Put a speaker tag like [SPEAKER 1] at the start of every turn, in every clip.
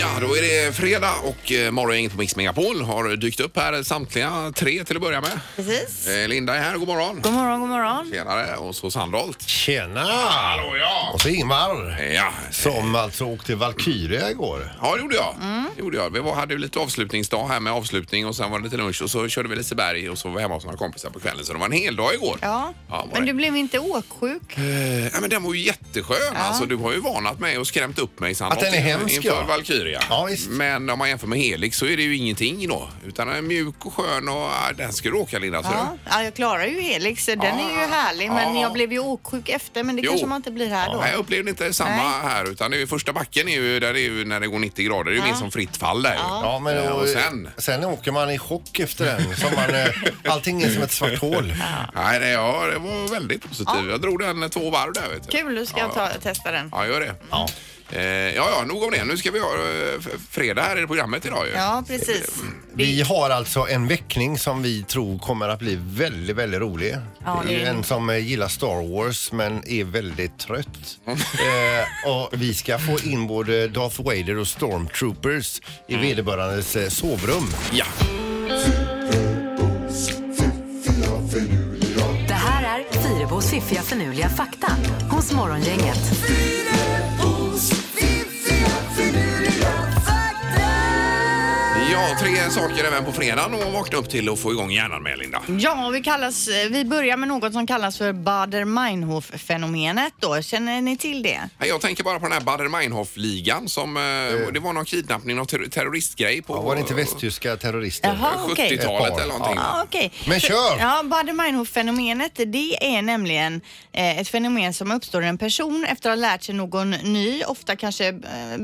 [SPEAKER 1] eh, fredag och eh, morgongänget på Mix Megapol har dykt upp här, samtliga tre till att börja med.
[SPEAKER 2] Precis.
[SPEAKER 1] Eh, Linda är här, god morgon.
[SPEAKER 2] God morgon, god morgon.
[SPEAKER 1] Tjenare. Och så Sandholt.
[SPEAKER 3] Tjena!
[SPEAKER 1] ja.
[SPEAKER 3] Och så Ingmar.
[SPEAKER 1] Ja, så.
[SPEAKER 3] Som alltså åkte Valkyria igår.
[SPEAKER 1] ja det gjorde jag.
[SPEAKER 3] Mm.
[SPEAKER 1] Det gjorde jag. Vi var, hade ju lite avslutningsdag här med avslutning och sen var det lite lunch och så körde vi Liseberg och så var vi hemma hos några kompisar på kvällen. Så det var en hel dag igår.
[SPEAKER 2] Ja,
[SPEAKER 1] Ja, var
[SPEAKER 2] men
[SPEAKER 1] det.
[SPEAKER 2] du blev inte åksjuk?
[SPEAKER 1] Eh, ja, men den var ju jätteskön. Alltså, du har ju varnat mig och skrämt upp mig Sandholt,
[SPEAKER 3] Att den är hemsk,
[SPEAKER 1] inför
[SPEAKER 3] ja.
[SPEAKER 1] Valkyria.
[SPEAKER 3] Ja, visst.
[SPEAKER 1] Men om man jämför med Helix så är det ju ingenting då. Utan den är mjuk och skön och ah, den ska du åka Linda. Ja.
[SPEAKER 2] Ja. ja, jag klarar ju Helix. Den är ju härlig, men
[SPEAKER 1] Ja.
[SPEAKER 2] jag blev ju åksjuk efter. Men det
[SPEAKER 1] Ah. Jo. Ah,
[SPEAKER 2] kanske man inte blir här då.
[SPEAKER 1] Nej, jag upplevde inte samma
[SPEAKER 2] Nej.
[SPEAKER 1] här utan det är ju, första backen är ju, där är ju när det går 90 grader. Det är ju mer som fritt fall där.
[SPEAKER 3] Ja, men
[SPEAKER 1] Eh,
[SPEAKER 3] och,
[SPEAKER 1] och sen?
[SPEAKER 3] sen åker man i chock efter den. Som man, eh, allting är som ett svart hål.
[SPEAKER 1] Nej, det, ja, det var väldigt positivt. Jag drog den två varv där. Vet du.
[SPEAKER 2] Kul, nu ska
[SPEAKER 1] ja.
[SPEAKER 2] jag ta, testa den.
[SPEAKER 1] Ja, gör det. Ja. Eh, ja, ja, nog om det. Nu ska vi ha eh, f- fredag här i programmet idag ju.
[SPEAKER 2] Ja, precis.
[SPEAKER 1] Mm.
[SPEAKER 3] Vi har alltså en väckning som vi tror kommer att bli väldigt, väldigt rolig.
[SPEAKER 2] Ja,
[SPEAKER 3] det
[SPEAKER 2] det
[SPEAKER 3] är
[SPEAKER 2] är-
[SPEAKER 3] en som eh, gillar Star Wars men är väldigt trött. eh, och vi ska få in både Darth Vader och Stormtroopers i vederbörandes eh, sovrum.
[SPEAKER 1] Mm. ja.
[SPEAKER 4] Det här är Fyrabos fiffiga förnuliga fakta hos Morgongänget.
[SPEAKER 1] Ja, tre saker även på fredagen att vakna upp till och få igång hjärnan med, Linda.
[SPEAKER 2] Ja, vi, kallas, eh, vi börjar med något som kallas för Baader-Meinhof-fenomenet då. Känner ni till det?
[SPEAKER 1] Nej, Jag tänker bara på den här Baader-Meinhof-ligan som... Eh, Det var någon kidnappning, någon ter- terroristgrej på...
[SPEAKER 3] Ja, var det inte västtyska terrorister?
[SPEAKER 2] Jaha. Ja, okej.
[SPEAKER 1] 70-talet
[SPEAKER 3] Ett par.
[SPEAKER 1] eller någonting.
[SPEAKER 2] Ja, okej.
[SPEAKER 3] Men
[SPEAKER 2] För-
[SPEAKER 3] kör!
[SPEAKER 2] Ja, Baader-Meinhof-fenomenet det är nämligen eh, ett fenomen som uppstår när en person efter att ha lärt sig någon ny, ofta kanske eh,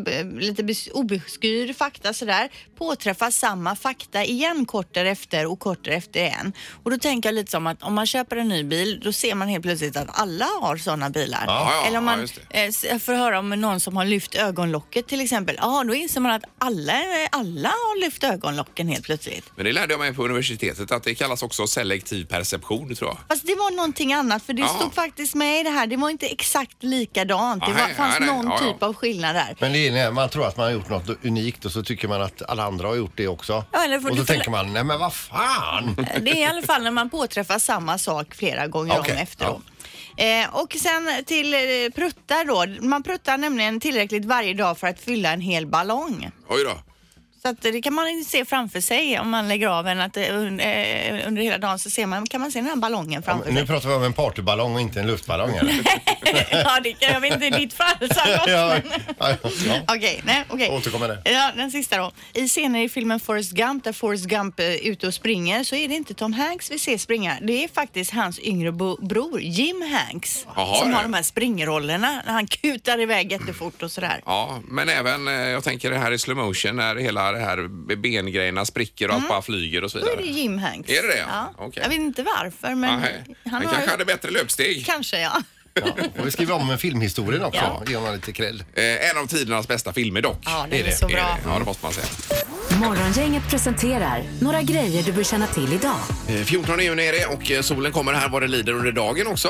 [SPEAKER 2] b- lite bes- obskyr fakta sådär, påträffar samma fakta igen kort därefter och kort därefter igen. Och då tänker jag lite som att om man köper en ny bil, då ser man helt plötsligt att alla har sådana bilar.
[SPEAKER 1] Ja, ja,
[SPEAKER 2] eller om
[SPEAKER 1] ja,
[SPEAKER 2] man
[SPEAKER 1] just det.
[SPEAKER 2] eh, s- får höra om någon som har lyft ögonlocket till exempel, ja, då inser man att alla, alla har lyft ögonlocken helt plötsligt.
[SPEAKER 1] Men det lärde jag mig på universitetet att det kallas också selektiv perception, tror jag.
[SPEAKER 2] Fast det var någonting annat för det
[SPEAKER 1] Ja.
[SPEAKER 2] stod faktiskt med i det här. Det var inte exakt likadant. Det
[SPEAKER 1] Ah, Nej,
[SPEAKER 2] var, fanns
[SPEAKER 1] nej, nej.
[SPEAKER 2] någon
[SPEAKER 1] Ja, ja.
[SPEAKER 2] typ av skillnad där.
[SPEAKER 3] Men det är när man tror att man har gjort något unikt och så tycker man att alla andra har gjort det också.
[SPEAKER 2] Ja, eller får
[SPEAKER 3] och
[SPEAKER 2] du
[SPEAKER 3] så
[SPEAKER 2] förlä-
[SPEAKER 3] tänker man, nej men vad fan!
[SPEAKER 2] Eh, Det är i alla fall när man påträffar samma sak flera gånger
[SPEAKER 3] Okej,
[SPEAKER 2] om efteråt. Eh, och sen till eh, pruttar då. Man pruttar nämligen tillräckligt varje dag för att fylla en hel ballong.
[SPEAKER 1] Oj då.
[SPEAKER 2] Så att det kan man ju se framför sig om man lägger av en att eh, un- eh, under hela dagen så ser man, kan man se den här ballongen
[SPEAKER 3] Ja, men
[SPEAKER 2] framför
[SPEAKER 3] Nu
[SPEAKER 2] sig.
[SPEAKER 3] pratar vi om en partyballong och inte en luftballong. Eller?
[SPEAKER 2] ja, det kan, jag vet inte i ditt fall Sandra,
[SPEAKER 3] ja,
[SPEAKER 2] men-
[SPEAKER 3] ja, ja.
[SPEAKER 2] Okej, nej, okej.
[SPEAKER 3] Återkommer det.
[SPEAKER 2] Ja, den sista då. I scener i filmen Forrest Gump där Forrest Gump är ute och springer så är det inte Tom Hanks vi ser springa. Det är faktiskt hans yngre bo- bror Jim Hanks
[SPEAKER 1] Jaha,
[SPEAKER 2] som
[SPEAKER 1] det.
[SPEAKER 2] har de här springrollerna när han kutar iväg jättefort och sådär.
[SPEAKER 1] Ja, men även, eh, jag tänker det här i slow motion när hela det här bengrejerna spricker och allt bara flyger och så
[SPEAKER 2] Mm. Då är det
[SPEAKER 1] vidare.
[SPEAKER 2] Jim Hanks.
[SPEAKER 1] Är det det?
[SPEAKER 2] Ja.
[SPEAKER 1] Okej.
[SPEAKER 2] Jag vet inte varför men
[SPEAKER 1] Nej,
[SPEAKER 2] han
[SPEAKER 1] Han
[SPEAKER 2] har
[SPEAKER 1] kanske
[SPEAKER 2] ju...
[SPEAKER 1] hade bättre löpsteg.
[SPEAKER 2] Kanske ja.
[SPEAKER 3] Ja, och vi skriver om en filmhistorien också.
[SPEAKER 2] Ja.
[SPEAKER 3] Ger man lite cred.
[SPEAKER 1] Eh, en av tidernas bästa filmer dock.
[SPEAKER 2] Ja, den är så
[SPEAKER 1] det.
[SPEAKER 2] bra.
[SPEAKER 1] Ja, det måste man säga.
[SPEAKER 4] Morgongänget presenterar några grejer du bör känna till idag.
[SPEAKER 1] Eh, 14 juni är det och eh, solen kommer här vad det lider under dagen också.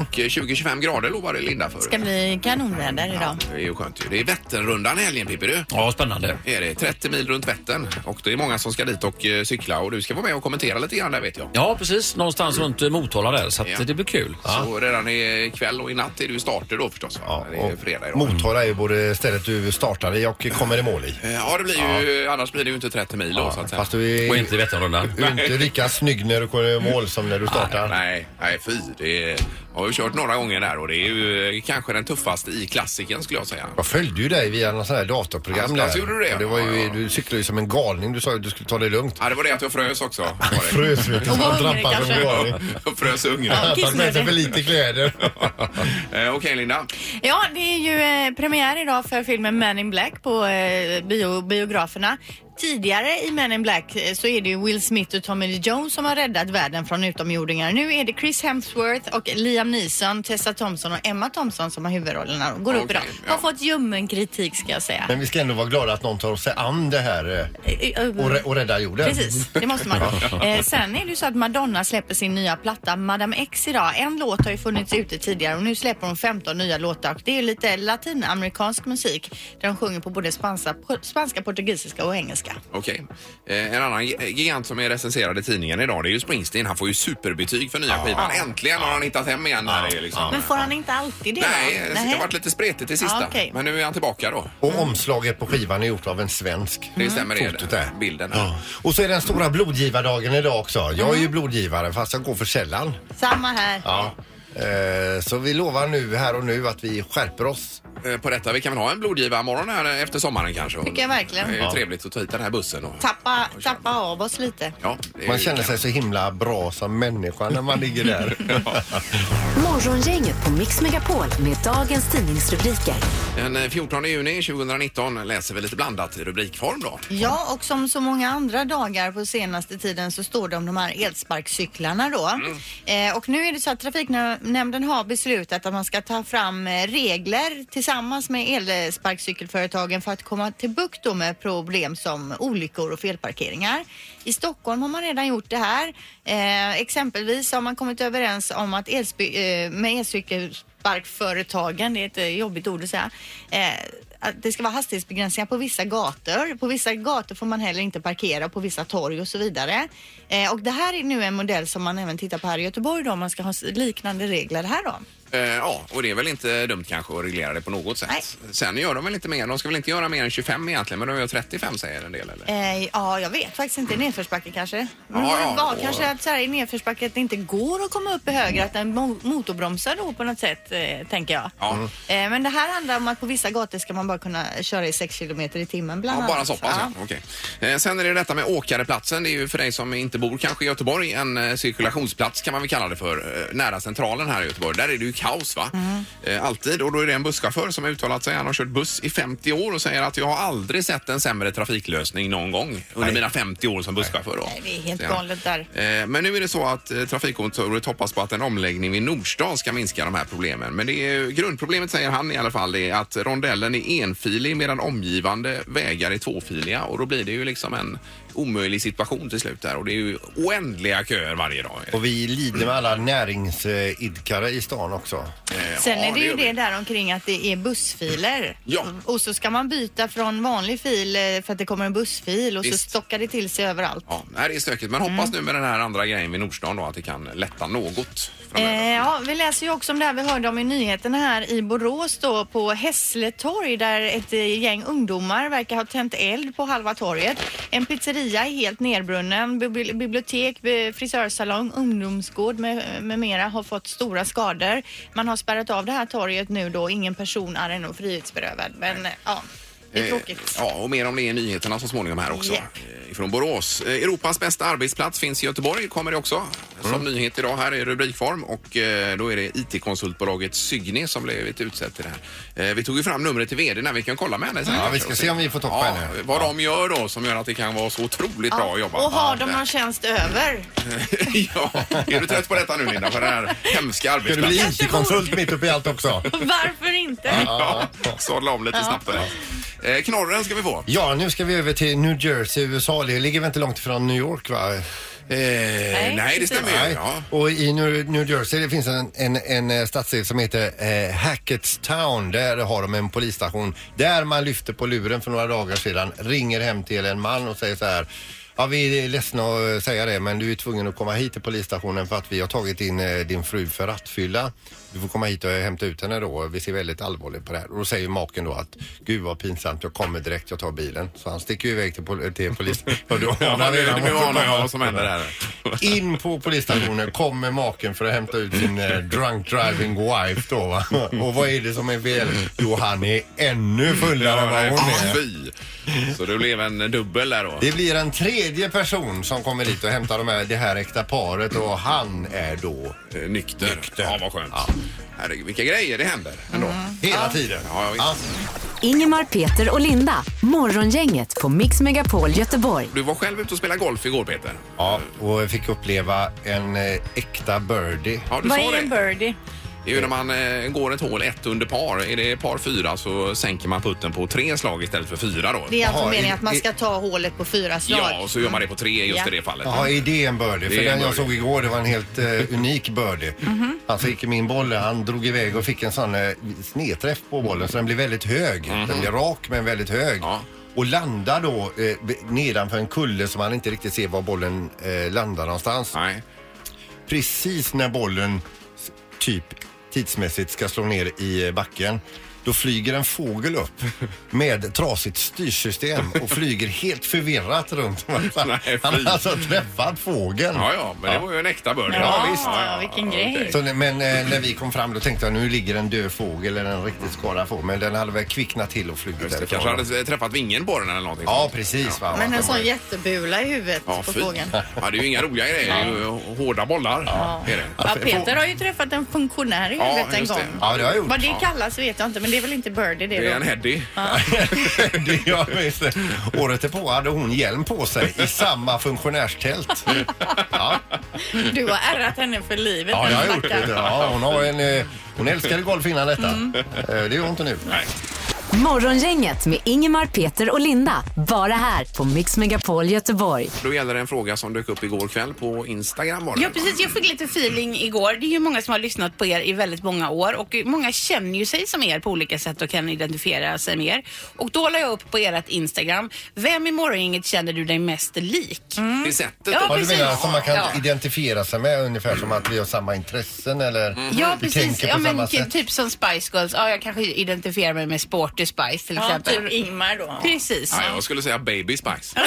[SPEAKER 1] Och eh, 20-25 grader lovade Linda för.
[SPEAKER 2] Det ska bli kanonväder idag.
[SPEAKER 1] Det är ju skönt ju. Det är Vätternrundan i helgen Pippi du.
[SPEAKER 5] Ja, spännande.
[SPEAKER 1] Är det 30 mil runt Vättern och det är många som ska dit och eh, cykla och du ska vara med och kommentera lite grann där vet jag.
[SPEAKER 5] Ja, precis. Någonstans runt eh, Motala där, så att
[SPEAKER 1] Ja.
[SPEAKER 5] det blir kul.
[SPEAKER 1] Så redan ikväll och i natt är det ju starter då förstås. Va?
[SPEAKER 3] Ja,
[SPEAKER 1] det är fredag idag.
[SPEAKER 3] och Motala är ju både stället du startar i och kommer i mål i.
[SPEAKER 1] Eh, Ja, det blir ju, annars blir det ju inte 30 mil då så att säga.
[SPEAKER 3] Fast du
[SPEAKER 5] Och
[SPEAKER 3] är
[SPEAKER 5] inte Vätternrundan.
[SPEAKER 3] du är inte lika snygg när du kommer i mål som när du startar.
[SPEAKER 1] Nej, nej fy. Det är, jag har ju kört några gånger där och det är ju eh, kanske den tuffaste i klassiken skulle jag säga.
[SPEAKER 3] Jag följde ju dig via något sånt här datorprogram
[SPEAKER 1] Ja, alltså, gjorde du det?
[SPEAKER 3] Och det var
[SPEAKER 1] Ja,
[SPEAKER 3] ju,
[SPEAKER 1] ja.
[SPEAKER 3] du cyklade ju som en galning. Du sa ju att du skulle ta det lugnt.
[SPEAKER 1] Ja, det var det att jag frös också. Var det.
[SPEAKER 3] Frös vet du.
[SPEAKER 2] Och var hungrig
[SPEAKER 3] Drabbad som
[SPEAKER 2] kanske.
[SPEAKER 3] galning.
[SPEAKER 1] Jag frös ugnen.
[SPEAKER 2] Ja.
[SPEAKER 3] Tagit med sig för lite kläder.
[SPEAKER 1] Eh, Okej Linda.
[SPEAKER 2] Ja, det är ju eh, premiär idag för filmen Men in Black på eh, bio, biograferna. Tidigare i Men in Black eh, så är det ju Will Smith och Tommy Lee Jones som har räddat världen från utomjordingar. Nu är det Chris Hemsworth och Liam Neeson, Tessa Thompson och Emma Thompson som har huvudrollerna och går upp
[SPEAKER 1] Okej,
[SPEAKER 2] idag.
[SPEAKER 1] ja.
[SPEAKER 2] Har fått ljummen kritik ska jag säga.
[SPEAKER 3] Men vi ska ändå vara glada att någon tar sig an det här eh, och, rä- och räddar jorden.
[SPEAKER 2] Precis, det måste man. Eh, sen är det ju så att Madonna släpper sin nya platta Madame X idag. En låt har ju funnits ute tidigare och nu släpper hon 15 nya låtar. Och det är ju lite latinamerikansk musik där hon sjunger på både spanska, spanska portugisiska och engelska.
[SPEAKER 1] Okej. Eh, En annan gi- gigant som är recenserad i tidningen idag det är ju Springsteen. Han får ju superbetyg för nya skivan. Äntligen har han hittat hem igen. Här, är liksom.
[SPEAKER 2] Men får han inte alltid det?
[SPEAKER 1] Nej,
[SPEAKER 2] då?
[SPEAKER 1] det
[SPEAKER 2] Nähä.
[SPEAKER 1] har varit lite spretigt i sista.
[SPEAKER 2] Ja, okej.
[SPEAKER 1] Men nu är han tillbaka då.
[SPEAKER 3] Och omslaget på skivan är gjort av en svensk.
[SPEAKER 1] Det stämmer
[SPEAKER 3] Fotot
[SPEAKER 1] det.
[SPEAKER 3] där.
[SPEAKER 1] Bilden.
[SPEAKER 3] Ja. Och så är den stora blodgivardagen idag också. Jag
[SPEAKER 2] Mm.
[SPEAKER 3] är ju blodgivare fast jag går för sällan.
[SPEAKER 2] Samma här.
[SPEAKER 3] Ja. Eh, Så vi lovar nu här och nu att vi skärper oss.
[SPEAKER 1] Eh, På detta, vi kan väl ha en blodgivarmorgon här eh, efter sommaren kanske?
[SPEAKER 2] Tycker jag verkligen.
[SPEAKER 1] Det är ju
[SPEAKER 3] Ja.
[SPEAKER 1] trevligt att ta hit den här bussen. Och...
[SPEAKER 2] Tappa, tappa av oss lite.
[SPEAKER 1] Ja, det är
[SPEAKER 3] Man
[SPEAKER 1] ju-
[SPEAKER 3] känner sig så himla bra som människa när man ligger där.
[SPEAKER 4] Morgongänget på Mix Megapol med dagens tidningsrubriker.
[SPEAKER 1] Den eh, 14 juni 2019 läser vi lite blandat i rubrikform då.
[SPEAKER 2] Ja, och som så många andra dagar på senaste tiden så står det om de här elsparkcyklarna då.
[SPEAKER 1] Mm.
[SPEAKER 2] Eh, och nu är det så att Trafiknämnden har beslutat att man ska ta fram eh, regler tillsammans med elsparkcykelföretagen för att komma till bukt då med problem som olyckor och felparkeringar. I Stockholm har man redan gjort det här. Eh, exempelvis har man kommit överens om att elsby, eh, med elcykelparkföretagen, det är ett eh, jobbigt ord att säga, eh, att det ska vara hastighetsbegränsningar på vissa gator. På vissa gator får man heller inte parkera på vissa torg och så vidare. Eh, och det här är nu en modell som man även tittar på här i Göteborg då, om man ska ha s- liknande regler här då.
[SPEAKER 1] Eh, Ja, och det är väl inte dumt kanske att reglera det på något sätt.
[SPEAKER 2] Nej.
[SPEAKER 1] Sen gör de väl inte mer. De ska väl inte göra mer än 25 egentligen, men de gör 35 säger en del. Eller?
[SPEAKER 2] Eh, ja, jag vet faktiskt inte. Nedförsbacke kanske? Men
[SPEAKER 1] Ja, ja,
[SPEAKER 2] var
[SPEAKER 1] och-
[SPEAKER 2] kanske att så här, i nedförsbacke att det inte går att komma upp i höger, att den mo- motorbromsar då på något sätt, eh, tänker jag.
[SPEAKER 1] Ja.
[SPEAKER 2] Eh, men det här handlar om att på vissa gator ska man bara kunna köra i 6 kilometer i timmen bland
[SPEAKER 1] Ja,
[SPEAKER 2] annat.
[SPEAKER 1] bara så pass, ja. Okej. Eh, Sen är det detta med åkareplatsen. Det är ju för dig som inte bor kanske i Göteborg en eh, cirkulationsplats kan man väl kalla det för. eh, Nära centralen här i Göteborg. Där är det ju kaos va?
[SPEAKER 2] Mm.
[SPEAKER 1] Eh, Alltid. Och då är det en busschaufför som har uttalat sig. Han har kört buss i 50 år och säger att jag har aldrig sett en sämre trafiklösning någon gång under mina 50 år som busschaufför. Då.
[SPEAKER 2] Nej, det är helt
[SPEAKER 1] Säger han.
[SPEAKER 2] galet där.
[SPEAKER 1] Eh, Men nu är det så att eh, Trafikkontoret hoppas på att en omläggning vid Nordstan ska minska de här problemen. Men det är, grundproblemet säger han i alla fall är att rondellen är enfilig medan omgivande vägar är tvåfiliga och då blir det ju liksom en omöjlig situation till slut där och det är ju oändliga köer varje dag.
[SPEAKER 3] Och vi lider med alla näringsidkare i stan också.
[SPEAKER 1] Eh,
[SPEAKER 2] Sen
[SPEAKER 1] ja,
[SPEAKER 2] är det ju
[SPEAKER 1] gör
[SPEAKER 2] det
[SPEAKER 1] vi.
[SPEAKER 2] där omkring att det är bussfiler.
[SPEAKER 1] Ja.
[SPEAKER 2] Och så ska man byta från vanlig fil eh, för att det kommer en bussfil och
[SPEAKER 1] Visst.
[SPEAKER 2] så stockar det till sig överallt.
[SPEAKER 1] Ja, nej, det är stökigt men hoppas nu med den här andra grejen vid Nordstan då att det kan lätta något framöver.
[SPEAKER 2] Eh, ja, vi läser ju också om det här vi hörde om i nyheterna här i Borås då på Hässle torg där ett eh, gäng ungdomar verkar ha tänt eld på halva torget. En pizzeria är helt nedbrunnen, bibli- bibliotek, bi- frisörsalong, ungdomsgård med, med mera har fått stora skador. Man har spärrat av det här torget nu då, ingen person är ännu frihetsberövad men eh, ja, det är
[SPEAKER 1] Eh,
[SPEAKER 2] tråkigt.
[SPEAKER 1] Ja, och mer om det i nyheterna så småningom här också.
[SPEAKER 2] Japp.
[SPEAKER 1] Eh, Från Borås. Eh, Europas bästa arbetsplats finns i Göteborg, kommer det också som
[SPEAKER 3] Mm.
[SPEAKER 1] nyhet idag här i rubrikform. Och eh, då är det IT-konsultbolaget Sygne som blivit utsett till det här. Eh, Vi tog ju fram numret till vd när vi kan kolla med henne sen.
[SPEAKER 3] Ja, vi ska se om vi får tag på
[SPEAKER 1] ja,
[SPEAKER 3] henne.
[SPEAKER 1] Vad de gör då som gör att det kan vara så otroligt bra att jobba.
[SPEAKER 2] Och har
[SPEAKER 1] Ja,
[SPEAKER 2] de någon tjänst över?
[SPEAKER 1] ja, är du trött på detta nu Linda, på den här hemska
[SPEAKER 3] Ska du bli
[SPEAKER 1] arbetsplatsen?
[SPEAKER 3] IT-konsult mitt uppe i allt också?
[SPEAKER 2] Varför inte?
[SPEAKER 1] Ja, sadla om lite snabbt där. Eh, Knorren ska vi få.
[SPEAKER 3] Ja, nu ska vi över till New Jersey, USA. Det ligger väl inte långt ifrån New York va?
[SPEAKER 1] Eh, nej, det
[SPEAKER 2] precis.
[SPEAKER 1] stämmer ju.
[SPEAKER 3] Nej.
[SPEAKER 1] Ja.
[SPEAKER 3] Och i New New Jersey det finns en, en, en eh, stadsdel som heter eh, Hackettstown. Där har de en polisstation där man lyfter på luren för några dagar sedan, ringer hem till en man och säger så här Ja, vi är ledsna att eh, säga det, men du är tvungen att komma hit till polisstationen för att vi har tagit in eh, din fru för rattfylla. Du får komma hit och hämta ut henne då. Vi ser väldigt allvarligt på det här. Och då säger maken då att gud vad pinsamt, jag kommer direkt, jag tar bilen. Så han sticker ju iväg till, pol- till polisen. Och då
[SPEAKER 1] Ja,
[SPEAKER 3] han
[SPEAKER 1] nu,
[SPEAKER 3] redan
[SPEAKER 1] nu
[SPEAKER 3] åkt
[SPEAKER 1] anar jag
[SPEAKER 3] upp.
[SPEAKER 1] vad som händer här.
[SPEAKER 3] In på polisstationen kommer maken för att hämta ut sin eh, drunk driving wife då va? Och vad är det som är fel? Jo, han är ännu fullare än vad hon
[SPEAKER 1] Ah,
[SPEAKER 3] är.
[SPEAKER 1] fy. Så det blev en dubbel där då.
[SPEAKER 3] Det blir en tredje person som kommer dit och hämtar de här, det här äkta paret och han är då
[SPEAKER 1] Eh, Nykter. Mm. Ja, vad skönt. Herregud, vilka grejer det händer ändå.
[SPEAKER 3] hela tiden.
[SPEAKER 1] Ja, visst.
[SPEAKER 3] Ja.
[SPEAKER 4] Ingemar, Peter och Linda. Morgongänget på Mix Megapol Göteborg.
[SPEAKER 1] Du var själv ute och spelade golf igår Peter.
[SPEAKER 3] Ja, och jag fick uppleva en eh, äkta birdie.
[SPEAKER 1] Ja, du
[SPEAKER 2] Vad
[SPEAKER 1] sa
[SPEAKER 2] är en
[SPEAKER 1] det.
[SPEAKER 2] birdie?
[SPEAKER 1] Det är ju när man eh, går ett hål ett under par. Är det par fyra så sänker man putten på tre slag istället för fyra då.
[SPEAKER 2] Det är alltså
[SPEAKER 3] Jaha,
[SPEAKER 2] meningen
[SPEAKER 3] i-
[SPEAKER 2] att man
[SPEAKER 3] i-
[SPEAKER 2] ska ta hålet på fyra slag.
[SPEAKER 1] Ja, och så gör man det på tre just
[SPEAKER 2] Ja.
[SPEAKER 1] i det fallet.
[SPEAKER 3] Jaha, är det en birdie? För
[SPEAKER 1] Det är en
[SPEAKER 3] den jag
[SPEAKER 1] birdie.
[SPEAKER 3] såg igår, det var en helt eh, unik birdie. Han fick min boll, han drog iväg och fick en sån eh, snedträff på bollen så den blev väldigt hög. Den blev rak men väldigt hög.
[SPEAKER 1] Mhm. Ja.
[SPEAKER 3] Och landar då eh, b- nedanför en kulle som man inte riktigt ser var bollen eh, landar någonstans.
[SPEAKER 1] Nej.
[SPEAKER 3] Precis när bollen s- typ tidsmässigt ska slå ner i eh, backen då flyger en fågel upp med trasigt styrsystem och flyger helt förvirrat runt.
[SPEAKER 1] Nej,
[SPEAKER 3] Han
[SPEAKER 1] fy.
[SPEAKER 3] har alltså träffat fågeln.
[SPEAKER 1] Ja, ja, men det var ju en äkta birdie.
[SPEAKER 2] Ja, ja, Ah, vilken
[SPEAKER 1] okej.
[SPEAKER 2] grej.
[SPEAKER 3] Så, när- men eh, när vi kom fram då tänkte jag nu ligger en död fågel eller en riktigt skadad fågel. Men den hade väl kvicknat till och flugit
[SPEAKER 1] Just det,
[SPEAKER 3] därifrån.
[SPEAKER 1] kanske hade träffat vingen på den eller någonting.
[SPEAKER 3] Ja, precis. Va?
[SPEAKER 2] Men en
[SPEAKER 3] Att de
[SPEAKER 2] sån
[SPEAKER 3] var-
[SPEAKER 2] jättebula i huvudet
[SPEAKER 1] Ja,
[SPEAKER 2] på
[SPEAKER 1] fy.
[SPEAKER 2] fågeln.
[SPEAKER 1] Ja, det är ju inga roliga grejer. Det är ju hårda bollar. Är det.
[SPEAKER 2] Ja, Peter har ju träffat en funktionär i
[SPEAKER 1] Ja,
[SPEAKER 2] huvudet en
[SPEAKER 1] just det.
[SPEAKER 2] gång.
[SPEAKER 3] Ja, det har jag gjort.
[SPEAKER 2] Vad det kallas vet jag inte, men det är väl inte birdie det,
[SPEAKER 1] Det är
[SPEAKER 2] då?
[SPEAKER 1] en heady.
[SPEAKER 3] det jag visst. Året därpå hade hon hjälm på sig i samma funktionärstält. Ja,
[SPEAKER 2] Du har ärrat henne för livet.
[SPEAKER 3] ja
[SPEAKER 2] den
[SPEAKER 3] jag har gjort
[SPEAKER 2] stackaren.
[SPEAKER 3] det. Ja, hon, har en, eh, hon älskade golf innan detta.
[SPEAKER 6] Mm.
[SPEAKER 3] Eh, Det gör hon inte nu.
[SPEAKER 1] Nej.
[SPEAKER 4] Morgongänget med Ingemar, Peter och Linda. Bara här på Mix Megapol Göteborg.
[SPEAKER 1] Då gäller det en fråga som dök upp igår kväll på Instagram. Var det?
[SPEAKER 6] Ja precis, jag fick lite feeling igår. Det är ju många som har lyssnat på er i väldigt många år och många känner ju sig som er på olika sätt och kan identifiera sig med er. Och då la jag upp på ert Instagram, vem i morgongänget känner du dig mest lik?
[SPEAKER 1] Det sättet då.
[SPEAKER 6] Ja,
[SPEAKER 3] Mm. Ja, du
[SPEAKER 6] precis.
[SPEAKER 3] menar som man kan
[SPEAKER 6] Ja.
[SPEAKER 3] identifiera sig med ungefär som att vi har samma intressen eller
[SPEAKER 6] Ja
[SPEAKER 3] vi
[SPEAKER 6] precis,
[SPEAKER 3] tänker på
[SPEAKER 6] ja, men,
[SPEAKER 3] samma
[SPEAKER 6] ty-
[SPEAKER 3] sätt?
[SPEAKER 6] typ som Spice Girls. Ja, jag kanske identifierar mig med Sporty Spice till
[SPEAKER 2] Ja,
[SPEAKER 6] exempel.
[SPEAKER 2] typ Ingmar då.
[SPEAKER 6] Precis.
[SPEAKER 1] Ja, jag skulle säga Baby Spice.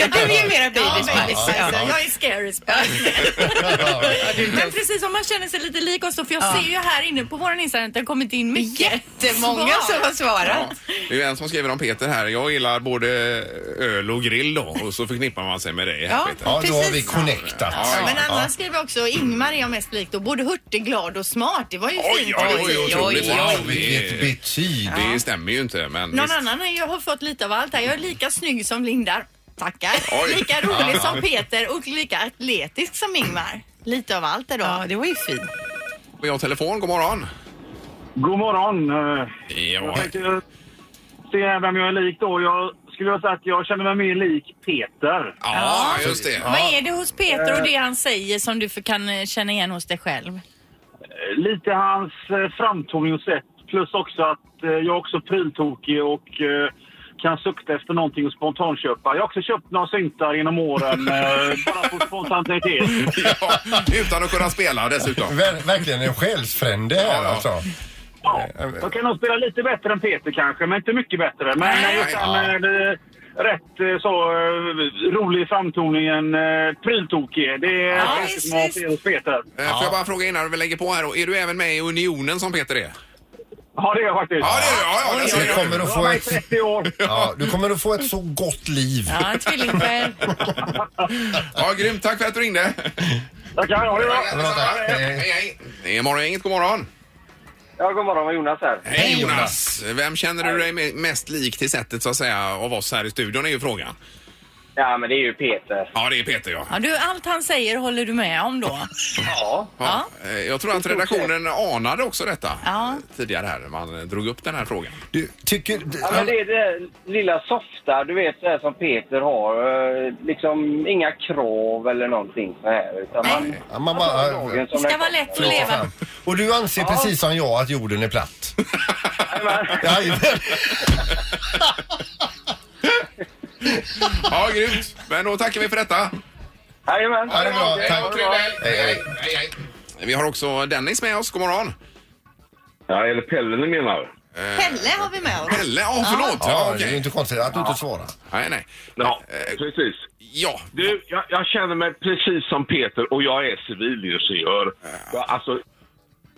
[SPEAKER 6] Jag behöver ju mera
[SPEAKER 2] Ja,
[SPEAKER 6] Baby
[SPEAKER 2] men
[SPEAKER 6] Spice.
[SPEAKER 2] exakt. Jag är scary spice.
[SPEAKER 7] Men precis som man känner sig lite lik oss då, för jag ser ju här inne på våran Instagram att det har kommit in mycket.
[SPEAKER 6] Jättemånga
[SPEAKER 7] svar.
[SPEAKER 6] som har svarat.
[SPEAKER 1] Ja, det är ju en som skriver om Peter här. Jag gillar både öl och grill då och så förknippar man sig med dig här
[SPEAKER 6] Ja.
[SPEAKER 1] Peter.
[SPEAKER 3] Ja, då har vi
[SPEAKER 6] precis.
[SPEAKER 3] connectat.
[SPEAKER 1] Ja,
[SPEAKER 2] Men Anna skriver också Ingmar är jag mest lik då. Både hurtig, glad och smart. Det var ju
[SPEAKER 1] Oj,
[SPEAKER 2] fint.
[SPEAKER 1] ja, det var ju
[SPEAKER 6] Oj,
[SPEAKER 1] otroligt.
[SPEAKER 6] oj, oj.
[SPEAKER 1] Wow,
[SPEAKER 3] Vilket
[SPEAKER 1] det,
[SPEAKER 3] betyg!
[SPEAKER 1] det stämmer ju inte. Men
[SPEAKER 2] Någon
[SPEAKER 1] visst.
[SPEAKER 2] annan har ju har fått lite av allt här. Jag är lika snygg som Linda. Tackar.
[SPEAKER 1] Oj.
[SPEAKER 2] Lika rolig som Peter och lika atletisk som Ingmar. Lite av allt där då.
[SPEAKER 6] Ja, det var ju fint.
[SPEAKER 1] Vi har telefon. God morgon.
[SPEAKER 8] God morgon. Eh,
[SPEAKER 1] Ja,
[SPEAKER 8] Jag tänkte se vem jag är lik då. Jag skulle säga att jag känner mig mer lik Peter.
[SPEAKER 1] ja just det.
[SPEAKER 7] Vad är det hos Peter och det han säger som du för- kan eh, känna igen hos dig själv?
[SPEAKER 8] Eh, Lite hans eh, framtoning och sätt. Plus också att eh, jag är också pryltokig och eh, kan sukta efter någonting och spontanköpa. Jag har också köpt några syntar genom åren. eh, bara på spontanitet.
[SPEAKER 1] Ja, utan att kunna spela dessutom.
[SPEAKER 3] Ver verkligen en själsfrände här
[SPEAKER 1] Ja, ja.
[SPEAKER 3] alltså.
[SPEAKER 8] Ja, jag kan nog spela lite bättre än Peter kanske, men inte mycket bättre. Men
[SPEAKER 1] Nej,
[SPEAKER 8] just det här med eh, rätt eh, så eh, rolig framtoning, en eh, pryltokig. Det är
[SPEAKER 1] Ja,
[SPEAKER 8] kanske som att se hos Peter.
[SPEAKER 1] Eh, Får jag bara fråga innan vi lägger på här då. Är du även med i Unionen som Peter är?
[SPEAKER 8] Ja, det är jag faktiskt.
[SPEAKER 1] Ja, det är du. Ja, ja, det ser
[SPEAKER 3] Du
[SPEAKER 1] jag.
[SPEAKER 3] kommer att
[SPEAKER 8] Jag har
[SPEAKER 3] få
[SPEAKER 8] varit
[SPEAKER 3] ett,
[SPEAKER 8] 30 år.
[SPEAKER 3] ja, du kommer att få ett så gott liv.
[SPEAKER 7] Ja, en tvillingsjäl.
[SPEAKER 1] Ja, grymt. Tack för att du ringde.
[SPEAKER 8] Tackar, ha det bra.
[SPEAKER 3] Bra, tack.
[SPEAKER 1] Hej, hej. Det är Morgongänget. God morgon.
[SPEAKER 8] Ja, god morgon, Jonas här.
[SPEAKER 1] Hej Jonas! Vem känner du dig me- mest lik till sättet så att säga av oss här i studion är ju frågan.
[SPEAKER 8] Ja, men det är ju Peter.
[SPEAKER 1] Ja, det är Peter ja.
[SPEAKER 7] Ja, du, allt han säger håller du med om då?
[SPEAKER 8] Ja.
[SPEAKER 1] ja. eh, Jag tror att redaktionen anade också detta
[SPEAKER 7] Ja.
[SPEAKER 1] eh, tidigare här när man eh, drog upp den här frågan.
[SPEAKER 3] Du, tycker...
[SPEAKER 9] Ja, men det är det lilla softa, du vet, det här som Peter har. eh, Liksom inga krav eller någonting så här. Utan man,
[SPEAKER 3] Ja, man bara,
[SPEAKER 9] dagen
[SPEAKER 3] äh,
[SPEAKER 9] som
[SPEAKER 7] Det ska
[SPEAKER 9] den
[SPEAKER 7] vara
[SPEAKER 9] kommer.
[SPEAKER 7] lätt att leva.
[SPEAKER 3] fram. och du anser precis som jag att jorden är platt?
[SPEAKER 9] Jajamän.
[SPEAKER 3] Jajamän.
[SPEAKER 1] Ja, grymt! Men då tackar vi för detta.
[SPEAKER 9] Jajamän.
[SPEAKER 3] Ja, det är bra. Tack.
[SPEAKER 1] Trevlig helg.
[SPEAKER 3] Hej, hej.
[SPEAKER 1] Hej, hej. Vi har också Dennis med oss. God morgon! Eh,
[SPEAKER 10] Ja, eller Pelle ni menar?
[SPEAKER 2] Pelle har vi med oss.
[SPEAKER 1] Pelle, ja förlåt! Ja,
[SPEAKER 3] Ja, det är ju
[SPEAKER 1] okej.
[SPEAKER 3] inte konstigt att du inte svarar.
[SPEAKER 1] Nej, nej.
[SPEAKER 10] Ja, precis.
[SPEAKER 1] Ja,
[SPEAKER 10] Du, jag, jag känner mig precis som Peter och jag är civilingenjör. Ja, alltså,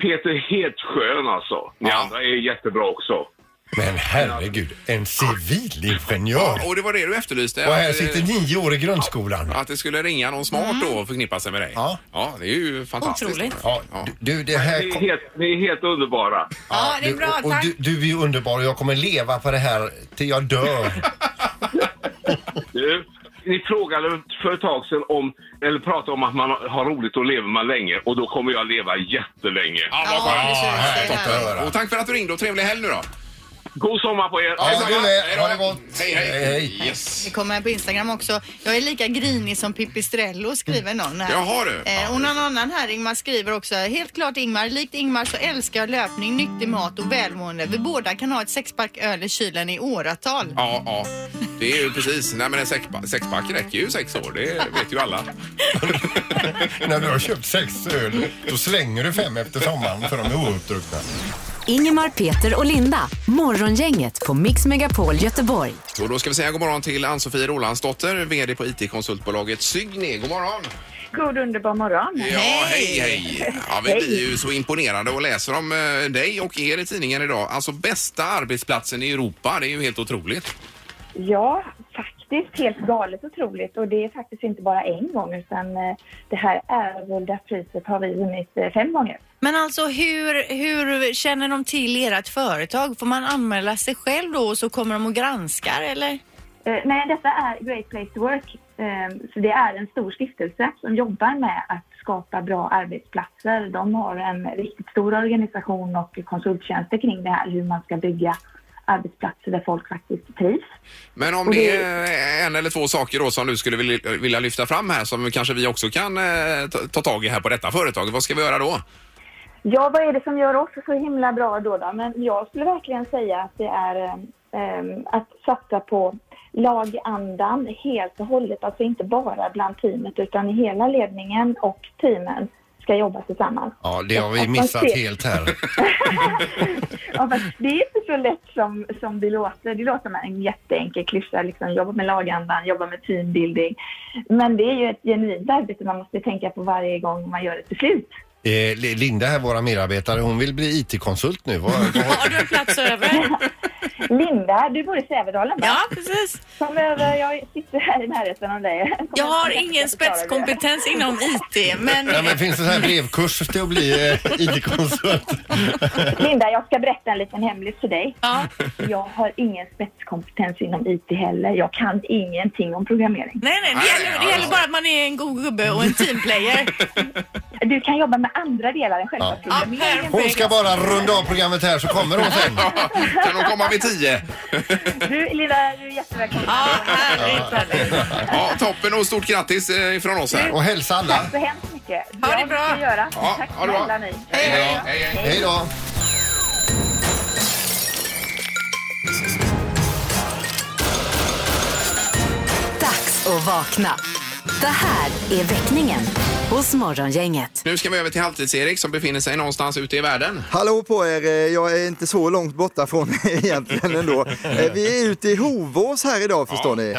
[SPEAKER 10] Peter är helt skön alltså. Ni
[SPEAKER 1] Ja.
[SPEAKER 10] andra är jättebra också.
[SPEAKER 3] Men herregud, en civilingenjör!
[SPEAKER 1] Och det var det du efterlyste.
[SPEAKER 3] Och här
[SPEAKER 1] att, eh,
[SPEAKER 3] sitter nio år i grundskolan.
[SPEAKER 1] Att det skulle ringa någon smart då och förknippa sig med dig. Ja, det är ju fantastiskt.
[SPEAKER 3] Mm. Otroligt. Ja, du, det
[SPEAKER 10] Ni
[SPEAKER 3] här...
[SPEAKER 10] är helt, ni är helt underbara.
[SPEAKER 6] Ja, det är
[SPEAKER 3] du-
[SPEAKER 6] bra,
[SPEAKER 3] och, och
[SPEAKER 6] tack.
[SPEAKER 3] du, du är ju underbar och jag kommer leva på det här till jag dör.
[SPEAKER 10] Du, ni frågade för ett tag sedan om, eller pratade om att man har roligt och lever man länge och då kommer jag leva jättelänge.
[SPEAKER 1] Ja, vad bra. Och tack för att du ringde och trevlig helg nu då.
[SPEAKER 10] God sommar på er!
[SPEAKER 1] Detsamma.
[SPEAKER 3] du med.
[SPEAKER 1] Hej då.
[SPEAKER 3] Ha det gott.
[SPEAKER 1] Hej, hej.
[SPEAKER 3] Hej.
[SPEAKER 1] Yes.
[SPEAKER 2] Det kommer här på Instagram också. Jag är lika grinig som Pipistrello
[SPEAKER 1] Mm.
[SPEAKER 2] skriver någon här.
[SPEAKER 1] Jaha, du. Ja,
[SPEAKER 2] Eh, och någon annan här, Ingmar, skriver också. Helt klart Ingmar, likt Ingmar så älskar jag löpning, nyttig mat och välmående. Vi båda kan ha ett sexpack öl i kylen i åratal.
[SPEAKER 1] Ja, ja. Det är ju precis. Nej, men en sexpa- sexpack räcker ju sex år. Det vet ju alla.
[SPEAKER 3] När du har köpt sex öl, då slänger du fem efter sommaren för de är outruckna.
[SPEAKER 4] Ingemar, Peter och Linda. Morgongänget på Mix Megapol Göteborg.
[SPEAKER 1] Och då ska vi säga god morgon till Ann-Sofie Rolandsdotter, VD på IT-konsultbolaget Sygne. God morgon!
[SPEAKER 11] God underbar morgon.
[SPEAKER 1] Ja, hej, hej! Ja, vi blir ju så imponerade och läser om eh, dig och er i tidningen idag. Alltså bästa arbetsplatsen i Europa, det är ju helt otroligt.
[SPEAKER 11] Ja, faktiskt helt galet otroligt och det är faktiskt inte bara en gång utan eh, det här ärevulda priset har vi vunnit eh, fem gånger.
[SPEAKER 2] Men alltså hur, hur känner de till ert företag? Får man anmäla sig själv då och så kommer de och granskar eller?
[SPEAKER 11] Eh, nej, detta är Great Place to Work. Eh, så det är en stor stiftelse som jobbar med att skapa bra arbetsplatser. De har en riktigt stor organisation och konsulttjänster kring det här hur man ska bygga arbetsplatser där folk faktiskt trivs.
[SPEAKER 1] Men om
[SPEAKER 11] Och
[SPEAKER 1] det
[SPEAKER 11] det-
[SPEAKER 1] är en eller två saker då som du skulle vilja- vilja lyfta fram här som kanske vi också kan eh, ta- ta tag i här på detta företag, vad ska vi göra då?
[SPEAKER 11] Ja, vad är det som gör oss så himla bra då? då? Men jag skulle verkligen säga att det är ehm, att satsa på lagandan helt och hållet. Alltså inte bara bland teamet utan i hela ledningen och teamen ska jobba tillsammans.
[SPEAKER 3] Ja, det har vi
[SPEAKER 11] Att man
[SPEAKER 3] missat
[SPEAKER 11] ser-
[SPEAKER 3] helt här.
[SPEAKER 11] Ja, fast det är inte så lätt som, som det låter. Det låter som en jätteenkel klyscha, liksom, jobba med lagandan, jobba med teambuilding. Men det är ju ett genuint arbete man måste tänka på varje gång man gör ett beslut.
[SPEAKER 3] Eh, Li- Linda här, våra medarbetare, hon vill bli IT-konsult nu. Vad- vad-
[SPEAKER 11] Har du en plats över? Linda, du bor i Sävedalen va?
[SPEAKER 7] Ja, precis.
[SPEAKER 11] Kom över, jag sitter här i närheten av dig. Kom
[SPEAKER 7] Jag
[SPEAKER 11] över,
[SPEAKER 7] har
[SPEAKER 11] så
[SPEAKER 7] ingen
[SPEAKER 11] ska jag förklara det.
[SPEAKER 7] spetskompetens inom IT, men...
[SPEAKER 3] Nej, men finns det så här brevkurs till att bli eh, IT-konsult?
[SPEAKER 11] Linda, jag ska berätta en liten hemlis för dig. Jag har ingen spetskompetens inom IT heller. Jag kan ingenting om programmering.
[SPEAKER 7] Nej, nej, alltså. det gäller, det gäller bara att man är en god gubbe och en teamplayer.
[SPEAKER 11] Du kan jobba med andra delar än själva programmeringen.
[SPEAKER 3] Hon ska bara runda av programmet här så kommer hon sen.
[SPEAKER 1] Kan de komma vid tio?
[SPEAKER 11] Du, Linda, du är jättevälkommen.
[SPEAKER 1] Ja, toppen och stort grattis eh, från oss här.
[SPEAKER 3] Och hälsa alla.
[SPEAKER 11] Tack så hemskt mycket. Ha det bra. Göra.
[SPEAKER 1] Ja,
[SPEAKER 11] Tack
[SPEAKER 1] ha det bra.
[SPEAKER 11] snälla ni.
[SPEAKER 3] Hej då.
[SPEAKER 4] Dags att vakna. Det här är väckningen hos Morgongänget.
[SPEAKER 1] Nu ska vi över till Halvtids-Erik som befinner sig någonstans ute i världen.
[SPEAKER 12] Hallå på er, eh, jag är inte så långt borta från er egentligen ändå. Eh, Vi är ute i Hovås här idag förstår ni.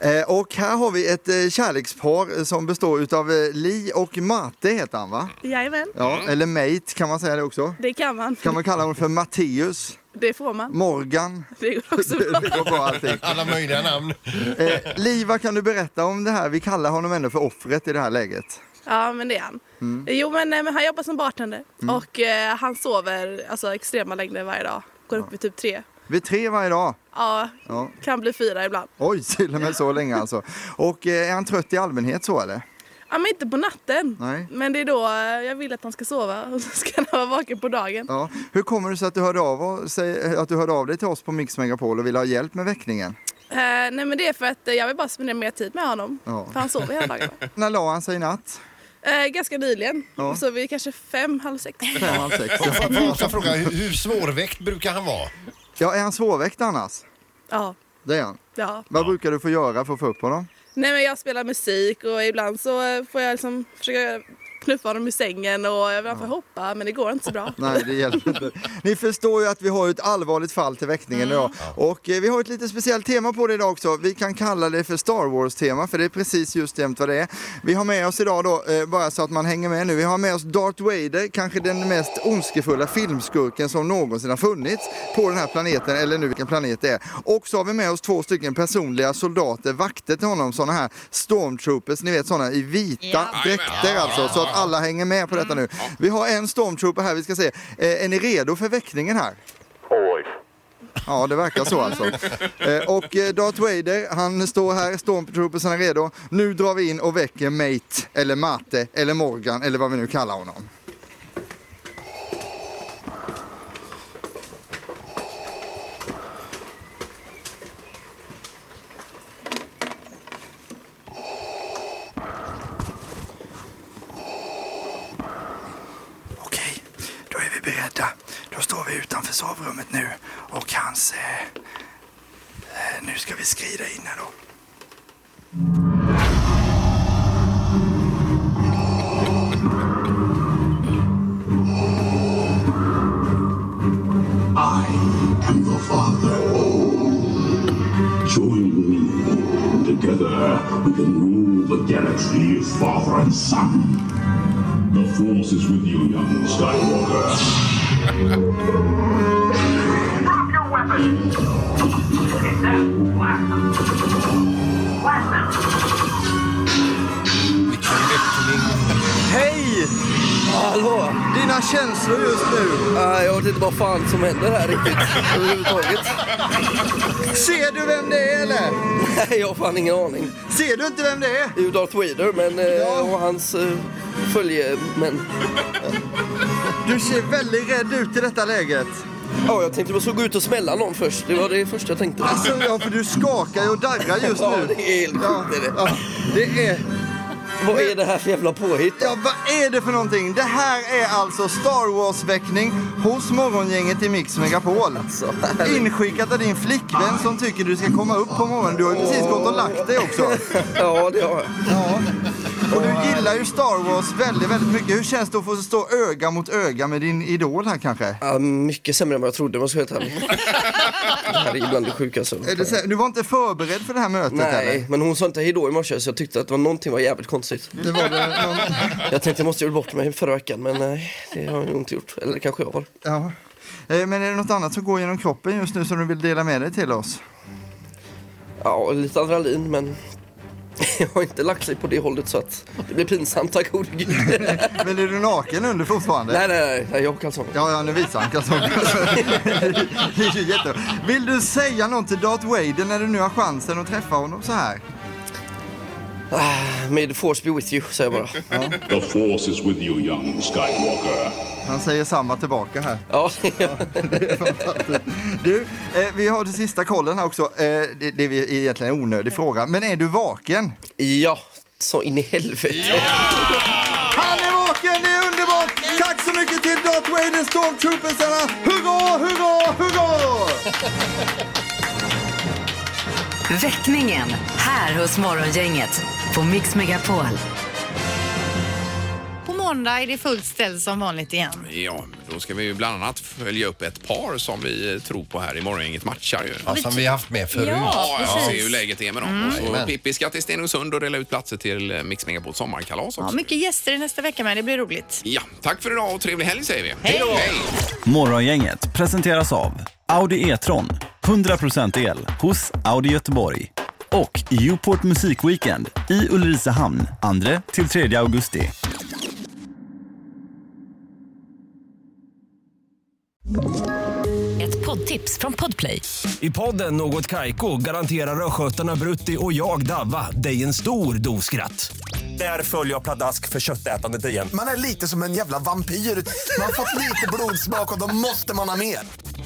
[SPEAKER 12] Eh, Och här har vi ett eh, kärlekspar som består utav eh, Li och Marte heter han va?
[SPEAKER 13] Jajamän,
[SPEAKER 12] Ja, eller mate kan man säga det också.
[SPEAKER 13] det kan man.
[SPEAKER 12] Kan man kalla honom för Matteus,
[SPEAKER 13] Det får man.
[SPEAKER 12] Morgan?
[SPEAKER 13] Det går också
[SPEAKER 12] Det går bra allting.
[SPEAKER 3] Alla möjliga namn.
[SPEAKER 12] Eh, Li, vad kan du berätta om det här? Vi kallar honom ändå för offret i det här läget.
[SPEAKER 13] Ja, men det är han.
[SPEAKER 12] Mm.
[SPEAKER 13] Jo, men, eh, men han jobbar som bartender
[SPEAKER 12] Mm.
[SPEAKER 13] och eh, han sover alltså, extrema längder varje dag. Går upp vid typ tre.
[SPEAKER 12] Vi är tre varje dag.
[SPEAKER 13] Ja,
[SPEAKER 12] Ja.
[SPEAKER 13] kan bli fyra ibland.
[SPEAKER 12] Oj, till och med så länge alltså. Och eh, är han trött i allmänhet så eller?
[SPEAKER 13] Ja, men inte på natten.
[SPEAKER 12] Nej.
[SPEAKER 13] Men det är då eh, jag vill att han ska sova och så ska han vara vaken på dagen.
[SPEAKER 12] Ja. Hur kommer det sig att du, hörde av och, säg, att du hörde av dig till oss på Mix Megapol och ville ha hjälp med väckningen?
[SPEAKER 13] Eh, nej, men det är för att eh, jag vill bara spendera mer tid med honom.
[SPEAKER 12] Ja.
[SPEAKER 13] För han sover hela dagen.
[SPEAKER 12] När la han sig i natt?
[SPEAKER 13] Eh, ganska nyligen.
[SPEAKER 12] Ja.
[SPEAKER 13] Så vi är kanske fem, halv sex.
[SPEAKER 12] Fem, halv sex.
[SPEAKER 3] Får- får- får jag också fråga, hur, hur svårväckt brukar han vara?
[SPEAKER 12] Ja, är han svårväckt annars?
[SPEAKER 13] Ja,
[SPEAKER 12] Det är han.
[SPEAKER 13] ja.
[SPEAKER 12] Vad brukar du få göra för att få upp honom?
[SPEAKER 13] Nej men jag spelar musik och ibland så eh, får jag liksom försöka knuffa honom i sängen och man får hoppa men det går inte så bra.
[SPEAKER 12] Nej, det hjälper inte. Ni förstår ju att vi har ett allvarligt fall till väckningen idag. Och eh, vi har ett lite speciellt tema på det idag också. Vi kan kalla det för Star Wars-tema, för det är precis just jämt vad det är. Vi har med oss idag då, eh, bara så att man hänger med nu, vi har med oss Darth Vader, kanske den mest ondskefulla filmskurken som någonsin har funnits på den här planeten, eller nu vilken planet det är. Och så har vi med oss två stycken personliga soldater, vakter till honom, sådana här stormtroopers, ni vet sådana i vita dräkter alltså, så att alla hänger med på detta nu. Vi har en stormtrooper här, vi ska se. Eh, är ni redo för väckningen här?
[SPEAKER 14] Oj.
[SPEAKER 12] Ja, det verkar så alltså. Eh, och eh, Darth Vader, han står här, stormtroopersen är redo. Nu drar vi in och väcker Mate, eller Mate, eller Morgan, eller vad vi nu kallar honom.
[SPEAKER 15] Okej, då är vi beredda. Då står vi utanför sovrummet nu och hans... Eh, eh, nu ska vi skrida in här då.
[SPEAKER 16] I am your father. Join me. and Together we can rule the galaxy as father and son. The force is with you, young Skywalker. Drop your weapon!
[SPEAKER 12] Hej! Hallå! Dina känslor just nu? jag vet inte vad fan som händer här riktigt överhuvudtaget. Ser du vem det är eller?
[SPEAKER 15] Nej, jag har fan ingen aning.
[SPEAKER 12] Ser du inte vem det är?
[SPEAKER 15] Det är ju Darth Vader men, eh, och hans eh, följemän.
[SPEAKER 12] Du ser väldigt rädd ut i detta läget.
[SPEAKER 15] Ja, jag tänkte jag skulle gå ut och smälla någon först. Det var det första jag tänkte.
[SPEAKER 12] Alltså, ja, för du skakar ju och darrar just
[SPEAKER 15] Ja,
[SPEAKER 12] nu.
[SPEAKER 15] det är helt sjukt.
[SPEAKER 12] Ja,
[SPEAKER 15] är det.
[SPEAKER 12] det är...
[SPEAKER 15] Vad är det här för jävla påhitt?
[SPEAKER 12] Ja, vad är det för någonting? Det här är alltså Star Wars-väckning hos morgongänget i Mix Megapol.
[SPEAKER 15] Alltså,
[SPEAKER 12] Inskickat av din flickvän som tycker du ska komma upp på morgonen. Du har ju precis gått och lagt dig också.
[SPEAKER 15] Ja, det har jag.
[SPEAKER 12] Ja. Och du gillar ju Star Wars väldigt, väldigt mycket. Hur känns det att få stå öga mot öga med din idol här kanske?
[SPEAKER 15] Ja, mycket sämre än vad jag trodde, om jag ska vara helt ärlig. Det här är ibland det sjukaste.
[SPEAKER 12] Är det så här- Du var inte förberedd för det här mötet
[SPEAKER 15] alltså. Nej,
[SPEAKER 12] eller?
[SPEAKER 15] men hon sa inte hejdå i morse så jag tyckte att det var någonting var jävligt konstigt.
[SPEAKER 12] Det var det någon...
[SPEAKER 15] Jag tänkte jag måste göra bort mig förra veckan, men nej, det har jag nog inte gjort. Eller kanske jag har.
[SPEAKER 12] Ja. Eh, Men är det något annat som går genom kroppen just nu som du vill dela med dig till oss?
[SPEAKER 15] Ja, lite adrenalin, men jag har inte lagt sig på det hållet så att det blir pinsamt, tack gode gud.
[SPEAKER 12] Men är du naken under fortfarande?
[SPEAKER 15] Nej, nej, nej, nej jag har kalsonger.
[SPEAKER 12] Ja, ja, nu visar han kalsongerna. Det är ju jättebra. Vill du säga något till Darth Vader när du nu har chansen att träffa honom så här?
[SPEAKER 15] Ah, May the force be with you, säger jag bara.
[SPEAKER 16] The force is with you, young Skywalker.
[SPEAKER 12] Han säger samma tillbaka här.
[SPEAKER 15] Ja.
[SPEAKER 12] det är fantastiskt. Du, eh, vi har det sista kollen här också. Eh, det, det är egentligen en onödig fråga, men är du vaken?
[SPEAKER 15] Ja, så in i helvete.
[SPEAKER 12] Han är vaken, det är underbart! Tack så mycket till Darth Vader Stormtroopersarna! Hurra, hurra, hurra!
[SPEAKER 4] Väckningen här hos Morgongänget på Mix Megapol.
[SPEAKER 2] På måndag är det fullt ställ som vanligt igen.
[SPEAKER 1] Ja, då ska vi ju bland annat följa upp ett par som vi eh, tror på här i morgongänget matchar ju.
[SPEAKER 3] Ja, som vi haft med förut.
[SPEAKER 1] Ja,
[SPEAKER 3] Ja,
[SPEAKER 1] jag ser
[SPEAKER 3] precis.
[SPEAKER 1] hur läget är med dem.
[SPEAKER 2] Mm.
[SPEAKER 1] Så
[SPEAKER 3] Jajamän.
[SPEAKER 1] Pippi ska till Stenungsund och dela ut platser till eh, Mix Megapols sommarkalas
[SPEAKER 2] Ja,
[SPEAKER 1] också.
[SPEAKER 2] mycket gäster i nästa vecka med, det blir roligt.
[SPEAKER 1] Ja, tack för idag och trevlig helg säger vi.
[SPEAKER 2] Hej då!
[SPEAKER 17] Morgongänget presenteras av Audi E-tron. 100% el hos Audi Göteborg. Och Uport Musikweekend i Ulricehamn 2-3 augusti.
[SPEAKER 18] Ett poddtips från Podplay.
[SPEAKER 19] I podden Något Kaiko garanterar östgötarna Brutti och jag, Davva, dig en stor dos skratt. Där följer jag pladask för köttätandet igen.
[SPEAKER 20] Man är lite som en jävla vampyr. Man har fått lite blodsmak och då måste man ha mer.